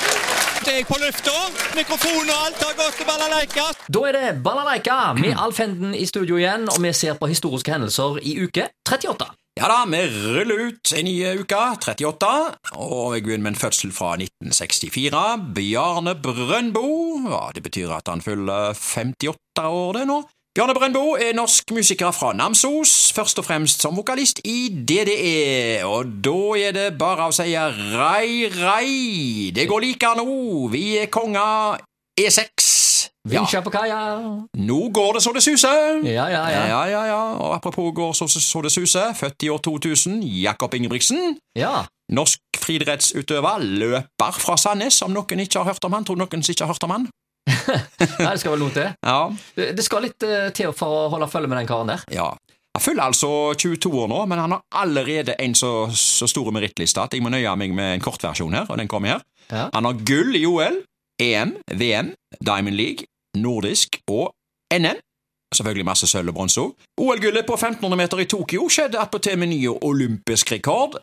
Snart er jeg på lufta. Mikrofon og alt har gått til balalaika. Da er det Balalaika med Alfenden i studio igjen, og vi ser på historiske hendelser i uke 38. Ja da, vi ruller ut en ny uke, 38, og jeg begynner med en fødsel fra 1964. Bjarne Brøndbo. Ja, det betyr at han fyller 58 år, det nå. Bjarne Brøndbo er norsk musiker fra Namsos, først og fremst som vokalist i DDE. Og da er det bare å si rei, rei, det går like nå, vi er konga E6. Ja, Vinsja på kaia. nå går det så det suser. Ja, ja, Ja, ja. ja, ja. Og apropos går så, så det suser, født i år 2000, Jakob Ingebrigtsen. ja. Norsk friidrettsutøver, løper fra Sandnes, om noen ikke har hørt om han. Tror noen som ikke har hørt om han. Nei, det skal vel noe til. Ja, Det det skal litt eh, til for å holde følge med den karen der. ja. Han fyller altså 22 år nå, men han har allerede en så, så stor merittliste at jeg må nøye meg med en kortversjon her, og den kommer her. Ja. Han har gull i OL, EM, VM, Diamond League, nordisk og NM. Selvfølgelig masse sølv og bronse òg. OL-gullet på 1500 meter i Tokyo skjedde attpåtil med ny olympisk rekord,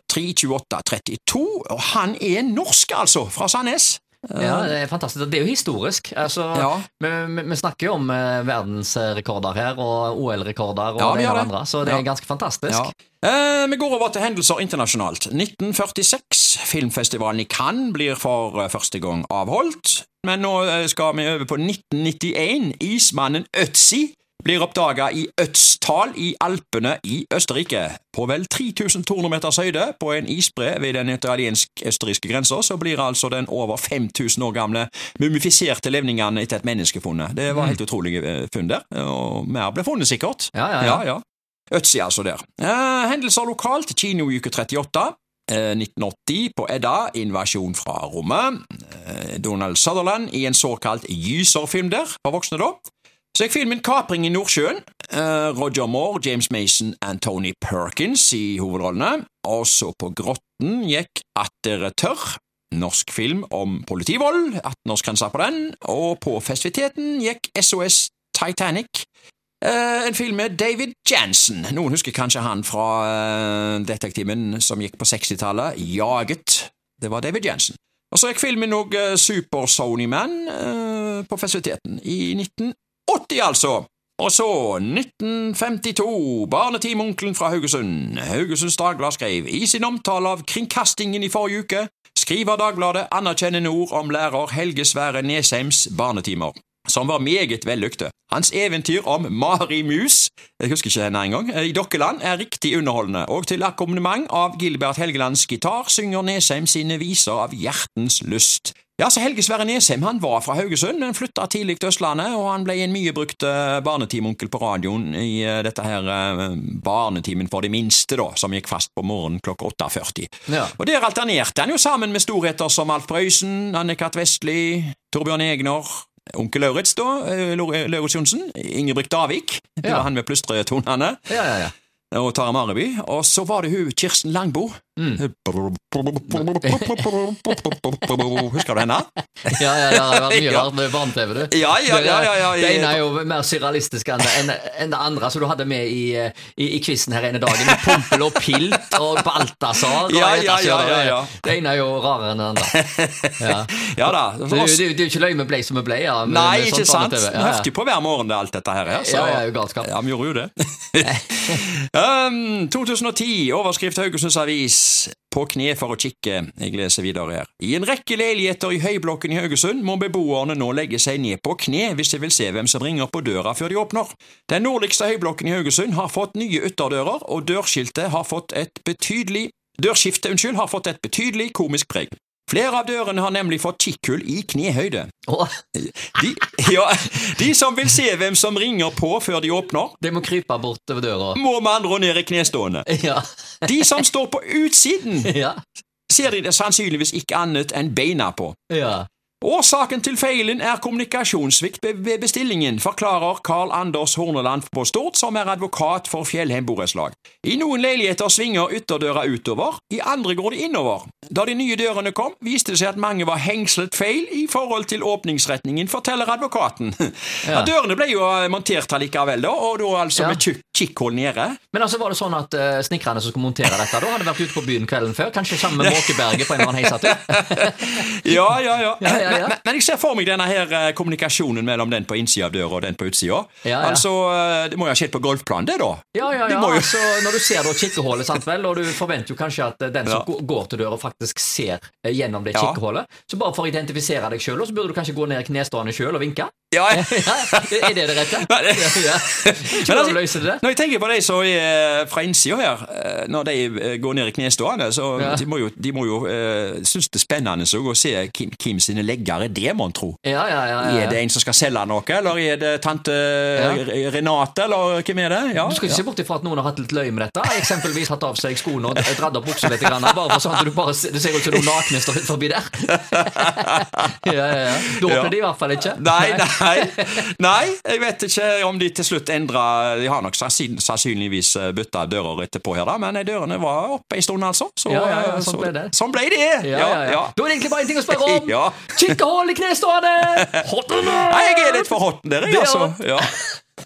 3.28,32, og han er norsk, altså, fra Sandnes. Ja, Det er fantastisk. Det er jo historisk. Altså, Ja. vi, vi, vi snakker jo om eh, verdensrekorder her, og OL-rekorder og Ja, vi det ene gjør og det det. andre, så det Ja. er ganske fantastisk. Ja. Eh, vi går over til hendelser internasjonalt. 1946. Filmfestivalen i Cannes blir for eh, første gang avholdt. Men nå eh, skal vi over på 1991. Ismannen Øtzi blir oppdaga i Øtztal i Alpene i Østerrike. På vel 3200 meters høyde på en isbre ved den italiensk-østerrikske grensa, så blir altså den over 5000 år gamle mumifiserte levningen etter et menneske funnet. Det var helt utrolige eh, funn der. Og mer ble funnet, sikkert. Ja, ja, ja. ja, ja. Øtzi altså der. Eh, hendelser lokalt, kino i uke 38. Eh, 1980 på Edda, invasjon fra rommet. Eh, Donald Sutherland i en såkalt gyserfilm der, for voksne da. Så gikk filmen Kapring i Nordsjøen. Eh, Roger Moore, James Mason og Tony Perkins i hovedrollene. Og så på Grotten gikk Attere tørr. Norsk film om politivold. 18-årsgrensa på den. Og på festiviteten gikk SOS Titanic. Eh, en film med David Jansen. Noen husker kanskje han fra eh, detektimen som gikk på 60-tallet, Jaget. Det var David Jansen. Og så gikk filmen òg eh, Super Sony Man eh, på festiviteten i 1980, altså. Og så 1952, barnetimeonkelen fra Haugesund. Haugesunds Dagblad skrev i sin omtale av kringkastingen i forrige uke skriver Dagbladet anerkjennende ord om lærer Helge Sverre Nesheims barnetimer, som var meget vellykte. Hans eventyr om Mari Mus, jeg husker ikke henne engang, i Dokkeland er riktig underholdende, og til akkompagnement av Gilbert Helgelands gitar synger Nesheim sine viser av hjertens lyst. Ja, så Helge Sverre Nesheim han var fra Haugesund, men flytta tidlig til Østlandet, og han ble en mye brukt eh, barnetimonkel på radioen i eh, dette her eh, Barnetimen for de minste, da, som gikk fast på morgenen klokka 8.40. Ja. Og der alternerte han jo sammen med storheter som Alf Prøysen, Anne-Kat. Vestli, Torbjørn Egner, onkel Lauritz, da, eh, Lor- Lauritz Johnsen, Ingebrigt Davik, det Ja. var han med plystretonene, Ja, ja, ja. og Tara Mareby, og så var det hun Kirsten Langbo. Husker du henne? Ja, ja, ja, det har vært mye Ja. rart med barne-TV, du. Ja, ja, ja, ja, ja, Det ene er jo mer surrealistisk enn det, enn- enn det andre, som du hadde med i, eh, i, i quizen her ene dagen. Med Pompel og Pilt og Balthazar. og Ja, jeg vet ja, ikke, ja, ja, det- ja. Det ene er jo rarere enn det andre. Ja. Ja da. Det, er jo- det, er jo- det er jo ikke løgn vi ble som vi ble. Ja, med- Nei, med sånt ikke sant? barne-TV. Vi hørte jo på hver morgen det, alt dette her. Så, Ja, ja, jo galskap. Ja, vi gjorde jo det. um, 2010, overskrift Haugesunds Avis. På kne for å kikke. Jeg leser videre her. I en rekke leiligheter i Høyblokken i Haugesund må beboerne nå legge seg ned på kne hvis de vil se hvem som ringer på døra før de åpner. Den nordligste Høyblokken i Haugesund har fått nye ytterdører, og dørskiltet har fått et betydelig Dørskiftet unnskyld, har fått et betydelig komisk preg. Flere av dørene har nemlig fått kikkhull i knehøyde. Å, De, ja, de som vil se hvem som ringer på før de åpner, de må krype bort over døra. må med andre ord ned i knestående. Ja. De som står på utsiden, Ja. ser de det sannsynligvis ikke annet enn beina på. ja. Årsaken til feilen er kommunikasjonssvikt be- ved bestillingen, forklarer Carl Anders Horneland på Stord, som er advokat for Fjellheim borettslag. I noen leiligheter svinger ytterdøra utover, i andre går de innover. Da de nye dørene kom, viste det seg at mange var hengslet feil i forhold til åpningsretningen, forteller advokaten. Ja. dørene ble jo eh, montert allikevel, da, og da altså Ja. med tjukk kikkhull nede. Men altså var det sånn at eh, snekkerne som skulle montere dette, da hadde vært ute på byen kvelden før? Kanskje sammen med Måkeberget på en eller annen heisatur? Ja, ja, ja. Ja, ja, ja. ja, ja. Men, men jeg ser for meg denne her eh, kommunikasjonen mellom den på innsida av døra og den på utsida. Ja, ja. Altså, eh, det må jo ha skjedd på golfplan, det, da. Ja, ja, Det ja. må jo- Altså, når du ser da kikkehullet, sant vel, og du forventer jo kanskje at eh, den som Ja. gå- går til døra, faktisk ser eh, gjennom det Ja. kikkehullet. Så bare for å identifisere deg sjøl, så burde du kanskje gå ned i knestående sjøl og vinke. Ja, Ja, er det det rette? Nei, det- Ja, ja. Men Ikke altså- bare løse det. Når jeg tenker på de som er fra innsida her, eh, når de eh, går ned i knestående, så Ja. de må jo, de må jo eh, synes det er spennende så, å se hvem, hvem sine leggere det, mon tro. Ja, ja, ja, ja. Er det en som skal selge noe, eller er det tante Ja. Renate, eller hvem er det? Ja, Du skal ikke ja. se bort ifra at noen har hatt litt løye med dette. Eksempelvis hatt av seg skoene og dratt opp buksa litt. Grann, bare for sånn at du bare ser, det ser ut som noen nakne står ut forbi der. Ja, ja, ja. Da Ja. åpner de i hvert fall ikke. Nei, nei, nei, jeg vet ikke om de til slutt endra De har nok sannsyn- sannsynligvis bytta dører etterpå, her da, men de dørene var oppe en stund, altså. Så, Ja, ja, ja, eh, sånn så- ble det. Sånn ble det. Ja, ja, ja. ja. Da er det egentlig bare en ting å spørre om. Ja. Kikkehull i knestående! Hot or not? Nei, jeg er litt for hotten der, jeg, Det er altså. hot. Ja.